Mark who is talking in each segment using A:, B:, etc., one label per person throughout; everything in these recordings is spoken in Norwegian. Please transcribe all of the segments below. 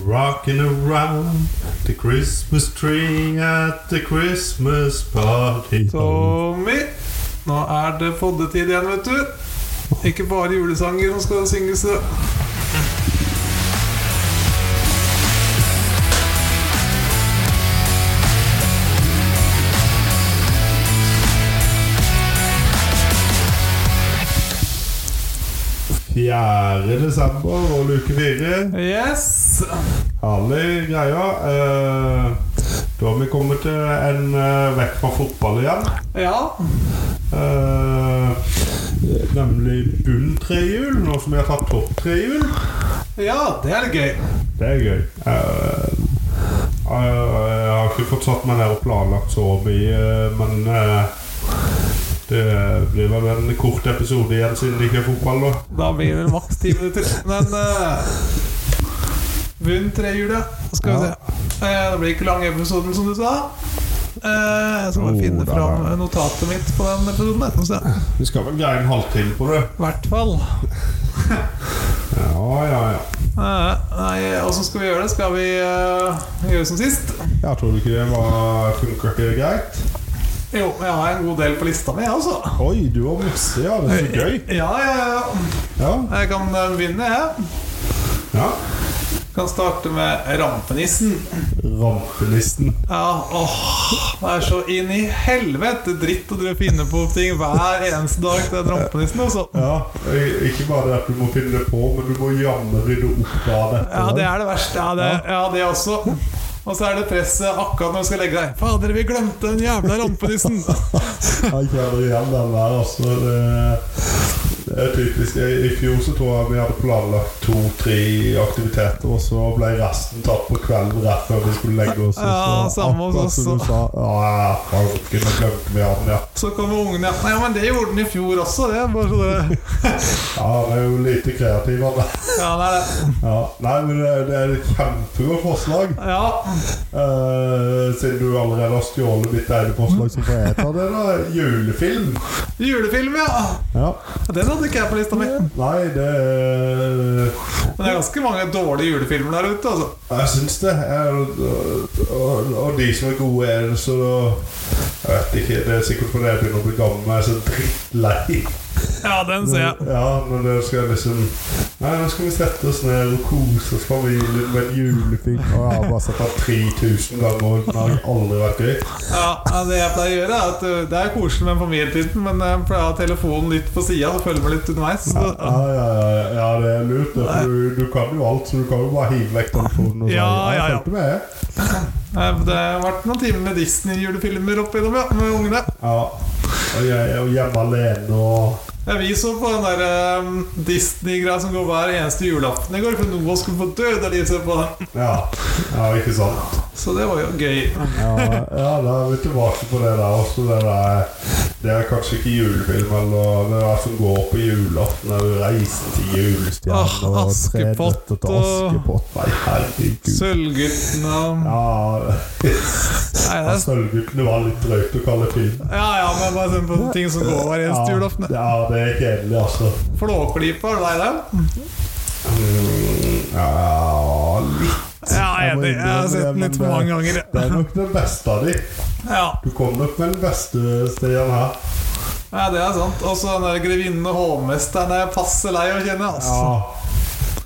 A: Rocking around the Christmas tree at the Christmas party.
B: Tommy, nå er det poddetid igjen, vet du. Ikke bare julesanger som skal synges. da.
A: Fjerde desember og luke fire.
B: Yes!
A: Herlig greia. Eh, da har vi kommet til en eh, vekk fra fotball igjen.
B: Ja.
A: Eh, nemlig bunn trehjul, nå som vi har tatt topp trehjul.
B: ja, det er litt gøy.
A: Det er gøy. Eh, eh, jeg har ikke fått satt meg ned og planlagt så mye, eh, men eh, det blir vel en kort episode igjen siden det ikke er fotball, da.
B: Da blir det maks ti minutter. Men uh, Vunn trehjulet. Skal vi
A: Ja.
B: se. Eh, det blir ikke lang episoden, som du sa. Eh, jeg skal bare
A: Oh,
B: finne
A: da,
B: fram
A: da.
B: notatet mitt på den episoden. her, skal vi se.
A: Vi skal vel greie en halvtime på det.
B: I hvert fall.
A: Ja, ja, ja.
B: Eh, nei, åssen skal vi gjøre det? Skal vi eh, gjøre som sist?
A: Jeg tror ikke det var funker ikke det greit.
B: Jo, jeg har en god del på lista mi, jeg også.
A: Oi, du har masse, ja. Det er så gøy.
B: Ja, ja, ja.
A: Ja,
B: Jeg kan eh, begynne, jeg.
A: ja.
B: Kan starte med rampenissen.
A: Rampenissen.
B: Ja, åh, Det er så inn i helvete dritt å drive og finne på ting hver eneste dag. Den rampenissen altså. også.
A: Ja, eh, ikke bare det at du må finne det på, men du må jammen rydde opp av det.
B: Ja, det er det verste. Ja, det, ja, det også. Og så er det presset akkurat når du skal legge deg. Fader, vi glemte den jævla rampenissen!
A: Jeg kjenner igjen den der, altså. Det, det er typisk. I, I fjor så tror jeg vi hadde planlagt to-tre aktiviteter, og så ble resten tatt på kvelden rett før vi skulle legge oss. og
B: Ja,
A: så
B: samme hos
A: akkurat
B: oss
A: som du
B: også.
A: sa, Ja, fanken, nå glemte vi han, ja.
B: Så kommer ungene ja. Nei, men det gjorde den i fjor også, det. Bare så dere
A: Ja, han er jo lite kreativ, han der.
B: Ja, det er det.
A: Ja. Nei, men det, det er et kjempegodt forslag.
B: Ja.
A: Eh, siden du allerede har stjålet mitt ene forslag, så får jeg ta det, da. Julefilm.
B: Julefilm, ja.
A: Ja.
B: Den hadde ikke jeg på lista mi.
A: Nei, det er
B: Men det er ganske mange dårlige julefilmer der ute, altså.
A: Jeg syns det. Jeg, og, og, og de som er gode, er det så Jeg vet ikke, det er sikkert fordi jeg begynner å bli gammel, men jeg er så drittlei.
B: Ja, den ser jeg.
A: Ja, når det skal liksom Nei, nå skal vi sette oss ned og kose oss familien med en julefilm. Og jeg har bare sett den 3000 ganger, og den har aldri vært gøy.
B: Ja, ja, Det jeg pleier å gjøre, er at uh, det er koselig med familietiden, men eh, jeg pleier å ha telefonen litt på sida og følge med litt underveis.
A: Ja,
B: Så,
A: ja, ja, ja, ja, det er lurt. det, for Du, du kan jo alt, så du kan jo bare hive vekk telefonen. Og si,
B: Ja,
A: jeg
B: ja, ja.
A: fulgte med.
B: Nei, det har vært noen timer med Disney-julefilmer opp igjennom, ja, med ungene.
A: Ja. Og jeg er jo hjemme alene og
B: Ja, vi så på den der um, Disney-greia som går hver eneste julaften i går, for noen skulle få dø da de ser på den.
A: Ja, ja ikke sant.
B: Så det var jo gøy.
A: Ja, ja da er vi tilbake på det der også. Det, der, det er kanskje ikke julefilm, eller det der som går på julaften, eller reisen til
B: Ah,
A: julestjernen og
B: Askepott
A: Tre nøtter til
B: og-
A: Askepott. Nei, herregud.
B: Sølvguttene og
A: Ja,
B: Nei, det er
A: Sølvguttene var litt drøyt å kalle film.
B: ja, ja, men bare se på ting som går hver
A: Ja,
B: eneste julaften.
A: ja, det er kjedelig, altså.
B: Flåklypa, er det deg, den?
A: Mm, Ja, litt.
B: Ja, jeg
A: Jeg
B: er
A: må
B: enig. Jeg har
A: innrømme
B: sett
A: det,
B: den
A: men
B: litt for
A: det-
B: mange ganger.
A: Det er nok den beste av de.
B: Ja,
A: Du kom nok med den beste, Stian, her.
B: ja det er sant. Og så den der grevinnen og hovmesteren er jeg passe lei å kjenne. Altså.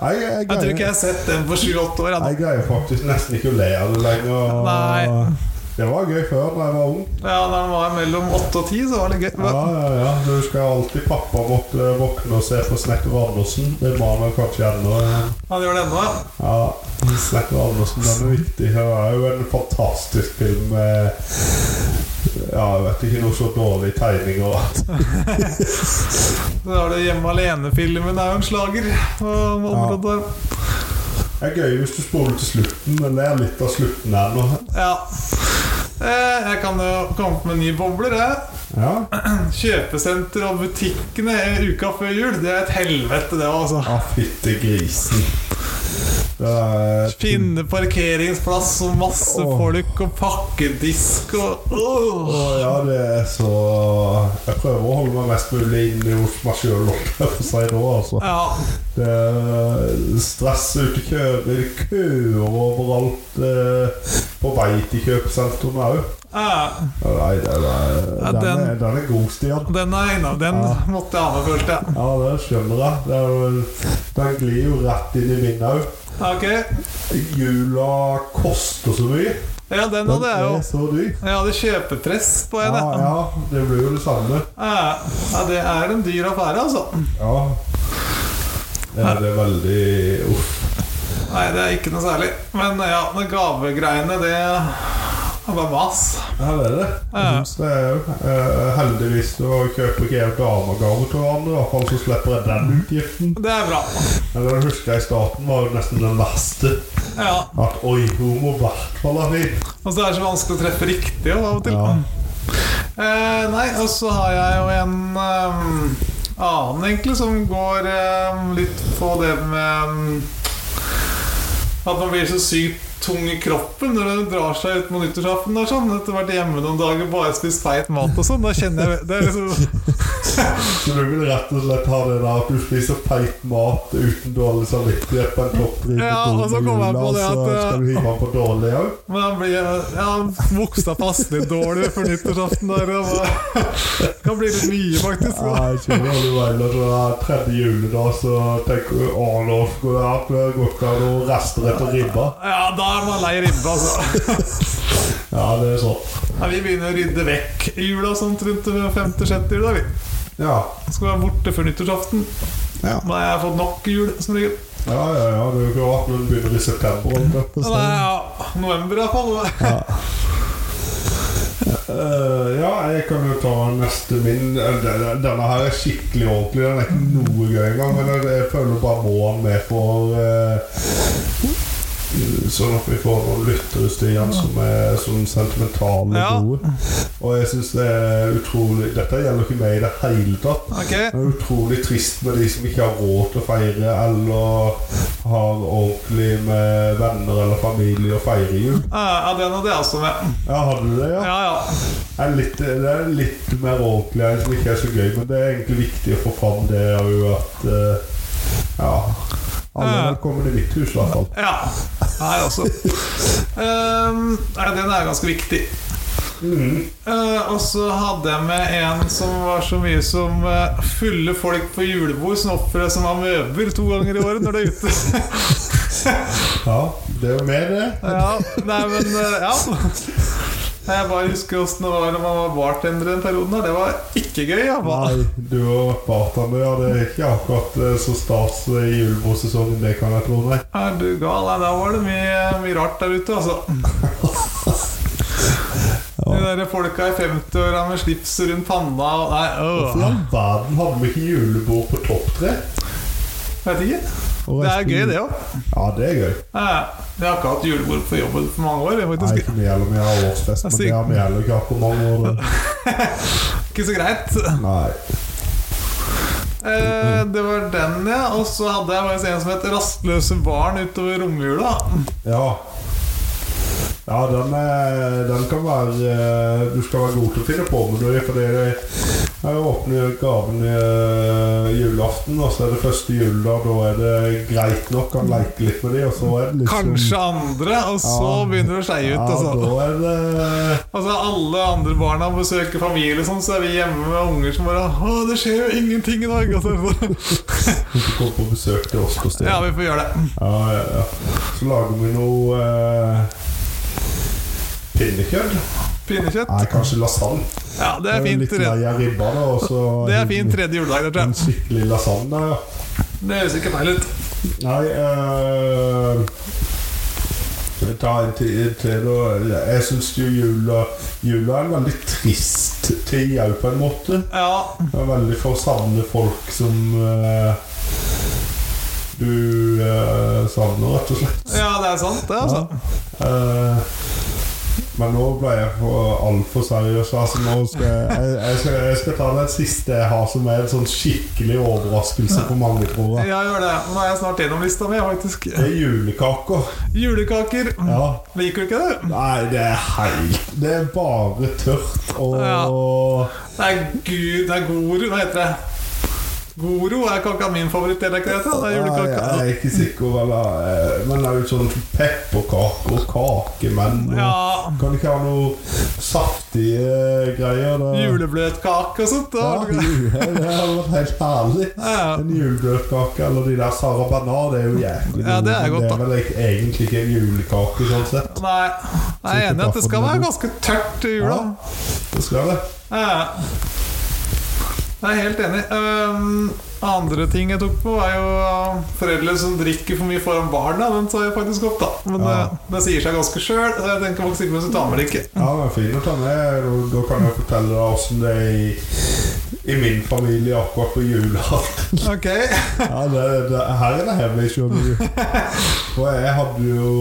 A: Jeg, jeg,
B: Jeg tror
A: greier-
B: ikke jeg har sett den på 7-8 år.
A: Jeg
B: Jeg.
A: greier faktisk nesten ikke å le av det lenger.
B: Nei.
A: Det var gøy før da jeg var ung.
B: Ja, da den var mellom 8 og 10, så var det gøy.
A: Ja, ja, ja. Du husker jeg alltid pappa måtte våkne og se på Snekker Andersen. Det var han vel kanskje ennå.
B: Han gjør det ennå, ja.
A: Ja, Snekker Andersen den er viktig. Det er jo en fantastisk film med Ja, jeg vet ikke noe så dårlig tegning og alt.
B: Så har du Hjemme alene-filmen, er jo en slager. på området der.
A: Det er gøy hvis du spoler til slutten. Jeg ler litt av slutten her nå.
B: Ja. Eh, Jeg kan jo komme opp med en ny bobler. Jeg.
A: Ja.
B: Kjøpesenter og butikkene uka før jul, det er et helvete, det òg, altså.
A: Ja, fytte grisen. Det er
B: Finne parkeringsplass og masse
A: Åh.
B: folk og pakkedisk og
A: Å
B: åh.
A: ja, det er så Jeg prøver å holde meg mest mulig inne hos meg sjøl, for å si nå, altså.
B: Ja.
A: Det er stress ute i køer, køer overalt eh, på vei til kjøpesentrene òg.
B: eh,
A: Ja, Nei, den er,
B: Ja,
A: den
B: den-
A: er, den er god, Stian.
B: Den er innom. Den
A: Ja.
B: måtte jeg ha med, følte jeg.
A: Ja, det skjønner jeg. Det er, jo- den glir jo rett inn i min òg.
B: Ok.
A: Jula koster så mye.
B: Ja, den
A: Den
B: hadde jeg jo.
A: er så dyr.
B: Jeg hadde kjøpepress på
A: Ja,
B: en. jeg.
A: ja, det blir jo det samme.
B: Eh, Ja, det er en dyr affære, altså.
A: Ja. Det er det veldig Uff.
B: Nei, det er ikke noe særlig. Men ja, de gavegreiene, det er bare mas.
A: Ja, det er det. Jeg
B: Ja.
A: synes det er eh, Heldigvis så kjøper ikke jeg damegave til hverandre, i hvert fall så slipper jeg den utgiften.
B: Det er bra.
A: Eller jeg husker jeg i starten var jo nesten den verste.
B: Ja.
A: At oi, hun må i hvert fall ha fin.
B: Og så er det så vanskelig å treffe riktig av og til.
A: Ja.
B: Eh, nei, og så har jeg jo en ehm, annen, egentlig, som går ehm, litt på det med ehm, At man blir så sykt tung i kroppen når det drar seg ut mot nyttårsaften. og Sånn. Etter hvert hjemme noen dager bare spist feit mat og sånn. Da kjenner jeg det er liksom,
A: Så du vil rett og slett ha det der at du spiser feit mat uten dårlig samvittighet på en topp tre på
B: Ja, og så
A: Torgmølla,
B: kommer jeg på det
A: så
B: at, eh,
A: skal du hive den på dårlig òg?
B: Men jeg blir eh, ja, voksa passelig dårlig for nyttårsaften der. Og det kan bli litt mye, faktisk.
A: Ja,
B: Da.
A: jeg skjønner hva du mener. Så det er tredje juledag, så tenker du å, nå skulle jeg hatt det godt av noen rester etter ribba.
B: Ja, da er man lei ribbe, altså.
A: Ja, det er sånn.
B: Ja, vi begynner å rydde vekk jula sånt rundt femte-sjette jula. Vi
A: Ja.
B: skal være borte før nyttårsaften.
A: Ja.
B: Da har jeg fått nok jul, som regel.
A: Ja, ja, ja, det er jo klart når den begynner i september. og alt dette,
B: Ja,
A: så-
B: Nei, ja, november i hvert fall.
A: Eh, ja, jeg kan jo ta neste min. Eh, Denne, denne her er skikkelig ordentlig. Den er ikke noe gøy engang, men jeg, jeg føler bare må han med for eh, Sånn at vi får noen lyttere, Stian, som er sånn sentimentale
B: Ja.
A: gode. Og jeg syns det er utrolig Dette gjelder ikke meg i det hele tatt.
B: Ok,
A: Det er utrolig trist med de som ikke har råd til å feire, eller har ordentlig med venner eller familie å feire jul.
B: ja, den hadde jeg også med.
A: Ja, hadde du det, ja?
B: Ja, ja.
A: er litt, det er litt mer ordentlig her, som ikke er så gøy, men det er egentlig viktig å få fram det er jo at eh, Ja. Alle er
B: Ja.
A: velkommen i mitt hus, i hvert fall.
B: ja. Her også. Ehm, nei, den er ganske viktig.
A: Mm.
B: Eh, og så hadde jeg med en som var så mye som eh, fulle folk på julebord som oppfører seg som amøber to ganger i året når det er ute.
A: Ja, det er jo med det.
B: Ja, nei, men eh, ja. Jeg bare husker åssen det var da man var bartender den perioden. her Det var ikke gøy. Ja. Hva-
A: Nei, du har vært bartender, ja. Det er ikke akkurat eh, så stas i julebordsesongen, det kan jeg tro. Nei.
B: Er du gal? Nei, da var det mye, mye rart der ute, altså. De der folka i 50-åra med slips rundt panna og Nei,
A: Hvorfor i
B: øh.
A: all verden hadde vi ikke julebord på topp tre?
B: Vet ikke.
A: Og
B: Det er gøy,
A: resten-
B: det òg.
A: Ja, det er gøy.
B: Jeg har ikke hatt julebord på jobben på mange år. jeg,
A: Nei,
B: faktisk.
A: ikke vi heller. Vi har årsfest, men
B: Altså,
A: det har vi heller ikke hatt på mange år. da.
B: Ikke så greit.
A: Nei.
B: Eh, det var den, ja. Og så hadde jeg faktisk en som het 'Rastløse barn' utover romjula.
A: Ja. Ja, den, er, den kan være eh, Du skal være god til å finne på med det. For jeg åpner eh, gaven eh, julaften, og så er det første juledag. Da er det greit nok. Kan leke litt med de, og så er det liksom
B: Kanskje andre, og så
A: Ja.
B: begynner det å skeie ut.
A: Ja,
B: Altså.
A: da er det
B: altså Alle andre barna besøker familie, og sånn, så er vi hjemme med unger som bare 'Å, det skjer jo ingenting i dag!' Altså.
A: Hun skal komme på besøk til oss på stedet.
B: Ja,
A: Ja,
B: vi får gjøre det.
A: ja, ja. Så lager vi noe eh, pinnekjøtt.
B: Pinnekjøtt.
A: Nei, kanskje lasagne.
B: Ja, det er
A: jo
B: fint.
A: litt mer
B: tredje-
A: i ribba, da. Og så
B: Det er fint tredje juledag, det tror
A: En
B: jeg.
A: skikkelig lasagne. Ja.
B: Det høres ikke feil ut.
A: Nei eh, Ta en til, til og, Jeg syns jo jula, jula er en veldig trist tid òg, på en måte.
B: Ja,
A: Det er veldig for å savne folk som eh, du eh, savner, rett og slett.
B: ja det er sant, det, altså.
A: Eh, Men nå ble jeg for altfor seriøs. Altså, nå skal jeg, jeg, jeg, skal, jeg skal ta den siste jeg har, som er en sånn skikkelig overraskelse for mange, tror jeg.
B: Ja, gjør det. Nå er jeg snart gjennom lista mi, faktisk.
A: Det er julekaker.
B: Julekaker. Mm.
A: Ja.
B: Liker du ikke det?
A: Nei, det er helt Det er bare tørt og
B: Ja. Det er gud, det er goro. Hva heter det? Goro er kaka min favoritt, er det ikke det? Det er
A: Nei,
B: julekaka.
A: jeg er ikke sikker, eller, eh, men det er jo sånn pepperkaker og kake, men og-
B: Ja.
A: Kan du ikke ha noe saftige greier? Da?
B: Julebløtkake og sånt.
A: Ja,
B: Da.
A: jule, det hadde vært helt herlig.
B: Ja, ja.
A: En julebløtkake eller de der Sara Bernard det er jo jævlig
B: Ja, det er
A: gode, men
B: godt, da.
A: Det er vel ikke- egentlig ikke en julekake, sånn sett.
B: Nei, jeg er enig i at det skal være ganske tørt i jula.
A: Ja, det skal det.
B: Ja, ja. Jeg er helt enig. Ehm, andre ting jeg tok på, er jo eh, foreldre som drikker for mye foran barna. Den tar jeg faktisk opp, da. Men
A: Ja.
B: det, det sier seg ganske sjøl, så jeg tenker faktisk ikke vi skal ta med det ikke.
A: Ja, den er fin å ta med. og Da kan jeg fortelle deg åssen det er i, i min familie akkurat på julaften.
B: Ok,
A: Ja, det, det, her er det heavy, skjønner du. For jeg hadde jo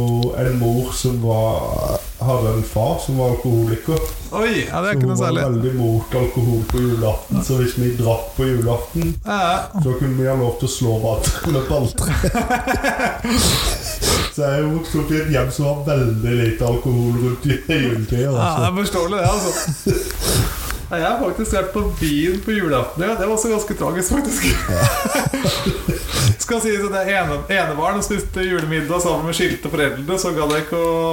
A: en mor som var Hadde en far som var alkoholiker.
B: Oi, ja,
A: Så
B: det er
A: hun
B: ikke noe
A: var
B: særlig.
A: veldig mot alkohol på julaften, så hvis vi drakk på julaften
B: Ja, ja.
A: så kunne vi ha lov til å slå hverandre med balltre. Så jeg er jo vokst opp i et hjem som har veldig lite alkohol rundt i juletider.
B: Ja, det
A: Altså.
B: er forståelig, det, altså. Ja, Jeg har faktisk vært på byen på julaften. Ja. Det var også ganske tragisk, faktisk. Skal sies at jeg ene, enebarn og spiste julemiddag sammen med skilte foreldre, så gadd jeg ikke å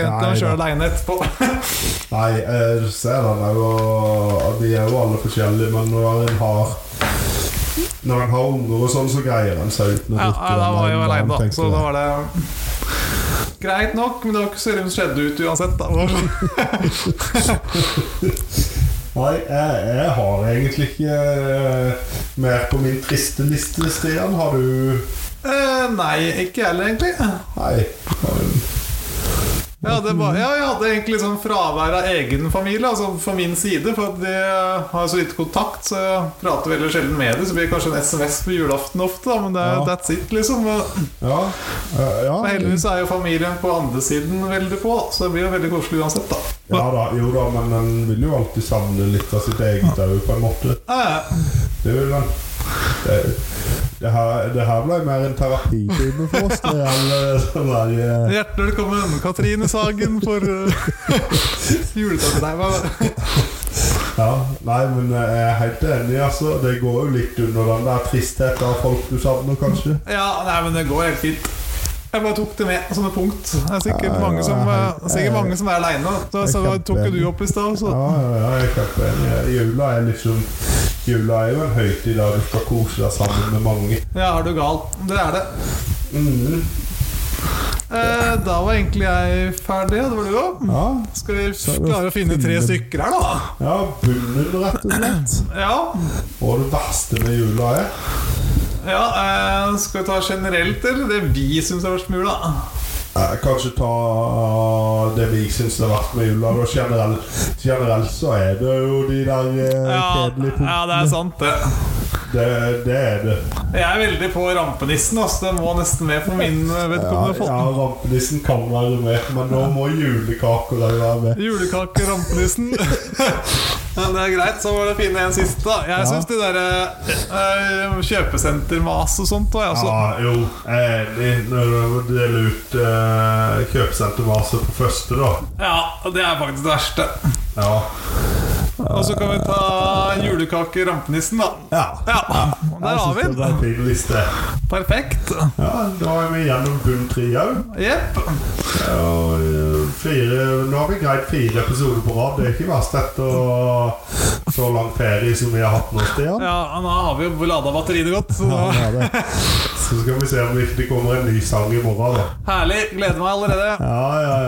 A: Nei,
B: hjem til
A: nei,
B: meg sjøl
A: da.
B: aleine etterpå.
A: Nei, jeg ser den er jo De er jo alle forskjellige, men når en har Når en har unger og sånn, så greier en seg uten å
B: Ja,
A: drikke
B: nei, da
A: den
B: var jeg jo
A: ene dagen,
B: aleine, da.
A: tenker
B: Så
A: jeg.
B: da var det greit nok, men det var ikke så ille om det skjedde ut uansett, da.
A: Nei, jeg, jeg har egentlig ikke eh, mer på min triste liste. Stian, har du
B: Eh, Nei, ikke jeg heller, egentlig.
A: Nei. Har du
B: Jeg hadde, bare, ja, jeg hadde egentlig sånn fravær av egen familie, altså fra min side. For at de har så lite kontakt, så jeg prater veldig sjelden med dem. Så blir det kanskje en SMS på julaften ofte, da, men det, er
A: Ja.
B: that's it, liksom. Og
A: Ja. eh, ja.
B: heldigvis er jo familien på andre siden veldig på, så det blir jo veldig koselig uansett, da.
A: Ja da, jo da, men en vil jo alltid savne litt av sitt eget òg, på en måte.
B: Eh,
A: Det vil en. Det, det, her, det her ble mer en terapitime for oss. Det er en, eh, sånn der, eh,
B: hjertelig velkommen, Katrine Sagen, for uh, julekake. Nei, hva-
A: ja, Nei, men jeg er helt enig, altså. Det går jo litt under den der tristheten av folk du savner, kanskje.
B: Ja, nei, men det går helt fint. Jeg bare tok det med som et punkt. Det er sikkert
A: Ja,
B: mange som,
A: ja,
B: eh, sikkert mange som er aleine, så, så da tok jo du opp i stad. så-
A: Ja, ja, ja, jeg er kjempeenig. Jula er liksom Jula er jo en høytid der du skal kose deg sammen med mange.
B: Ja, er du gal? Det er det.
A: Mm.
B: Eh, da var egentlig jeg ferdig. Det var du òg.
A: Ja,
B: Skal vi
A: Så er det
B: klare å finne tre
A: finne-
B: stykker her, da?
A: ja, bunnen, rett og slett.
B: Ja.
A: Og det verste med jula er
B: ja eh, skal vi ta generelt, eller det vi syns er verst med jula?
A: Eh, Kanskje ta eh, det vi syns er verst med jula. Og generelt, generelt så er det jo de der eh,
B: Ja,
A: kjedelige punktene.
B: ja, det er sant, det.
A: det, det er det.
B: Jeg er veldig på rampenissen. Altså. Det må nesten med for min eh,
A: Ja,
B: vedkommende.
A: ja,
B: Ja,
A: Rampenissen kan være med, men nå må julekaker òg være med.
B: Julekake, rampenissen. Men det er greit, så var det å finne en siste. da
A: Ja.
B: Jeg syns det derre eh, kjøpesentermas og sånt òg, altså.
A: Ja, jo, jeg er enig. Når du deler ut eh, kjøpesentervase på første, da.
B: Ja, og det er faktisk det verste.
A: Ja.
B: Og så kan vi ta julekake rampenissen, da.
A: ja.
B: Ja, der har vi
A: Jeg synes det er
B: den.
A: en fin liste.
B: Perfekt.
A: Ja, da er vi gjennom bunn tre òg.
B: Jepp.
A: Ja, eh, fire, nå har vi greid fire episoder på rad. Det er ikke verst etter så lang ferie som vi har hatt nå, Stian.
B: Ja, nå har vi jo lada batteriet godt. Så nå.
A: Ja, det er det. Så skal vi se om det ikke kommer en ny sang i morgen, da.
B: Herlig. Gleder meg allerede.
A: Ja, ja,